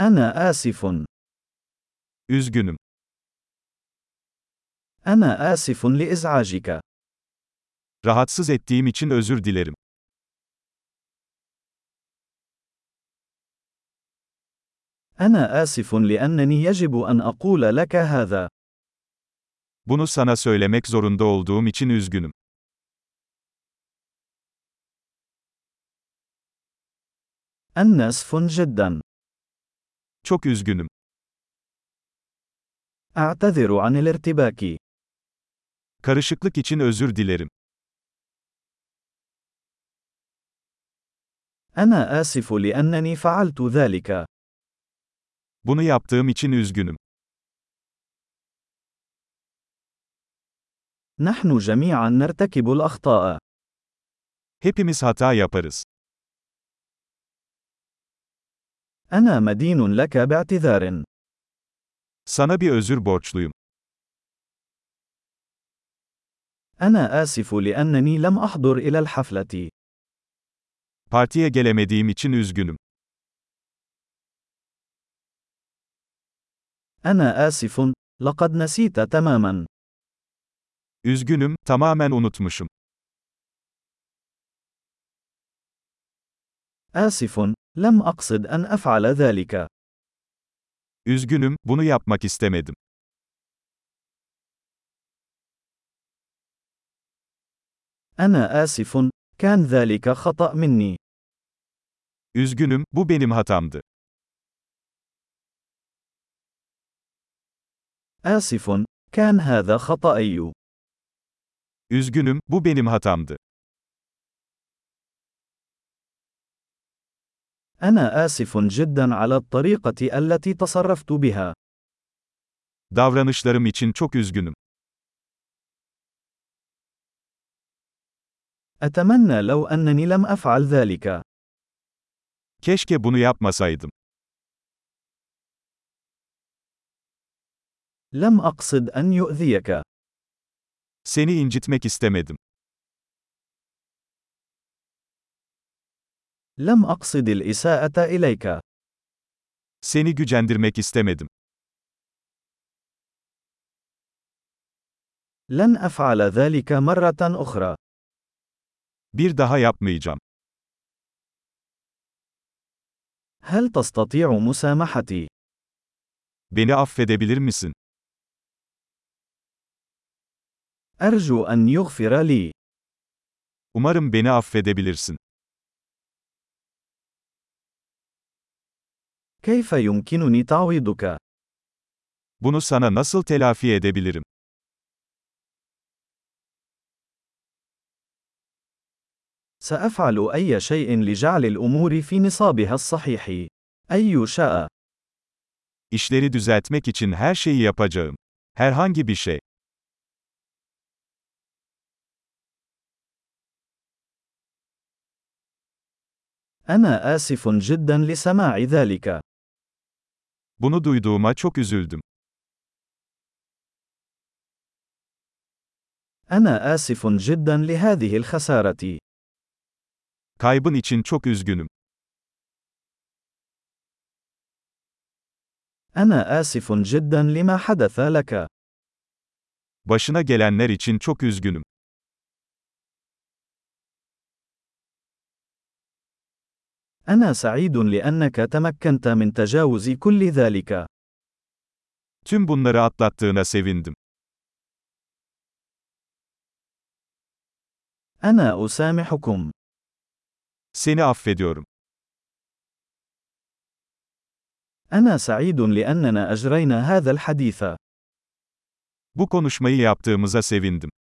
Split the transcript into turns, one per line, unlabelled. أنا آسف.
Üzgünüm.
أنا آسف لإزعاجك.
Rahatsız ettiğim için özür dilerim.
أنا آسف لأنني يجب أن أقول لك هذا.
Bunu sana söylemek zorunda olduğum için üzgünüm.
أنا آسف جدا.
Çok üzgünüm.
أعتذر عن الارتباك.
Karışıklık için özür dilerim.
أنا آسف لأنني فعلت ذلك.
Bunu yaptığım için üzgünüm.
نحن جميعا نرتكب الأخطاء.
Hepimiz hata yaparız.
أنا مدين لك باعتذار.
Sana bir özür borçluyum.
أنا آسف لأنني لم أحضر إلى الحفلة.
Partiye gelemediğim için üzgünüm.
أنا آسف. لقد نسيت تماما.
Üzgünüm, tamamen unutmuşum.
آسف. لم أقصد أن أفعل ذلك.
Üzgünüm, bunu yapmak istemedim.
أنا آسف. كان ذلك خطأ مني.
Üzgünüm, bu benim hatamdı.
آسف. كان هذا خطأي.
Üzgünüm, bu benim hatamdı.
أنا آسف جدا على الطريقة التي تصرفت بها.
Davranışlarım için çok üzgünüm.
أتمنى لو أنني لم أفعل ذلك.
Keşke bunu yapmasaydım.
لم أقصد أن يؤذيك.
Seni incitmek istemedim.
لم أقصد الإساءة إليك.
Seni gücendirmek istemedim.
لن أفعل ذلك مرة أخرى.
Bir daha yapmayacağım.
هل تستطيع مسامحتي؟
Beni affedebilir misin?
أرجو أن يغفر لي.
Umarım beni affedebilirsin.
كيف يمكنني تعويضك؟
Bunu sana nasıl telafi edebilirim?
سأفعل أي شيء لجعل الأمور في نصابها الصحيح. أي شاء.
İşleri düzeltmek için her şeyi yapacağım. Herhangi bir şey.
أنا آسف جدا لسماع ذلك.
Bunu duyduğuma çok üzüldüm.
أنا آسف جدا لهذه الخسارة.
Kaybın için çok üzgünüm.
أنا آسف جدا لما حدث لك.
Başına gelenler için çok üzgünüm.
أنا سعيد لأنك تمكنت من تجاوز كل ذلك.
Tüm bunları atlattığına sevindim.
أنا أسامحكم.
Seni affediyorum.
أنا سعيد لأننا أجرينا هذا الحديث.
Bu konuşmayı yaptığımıza sevindim.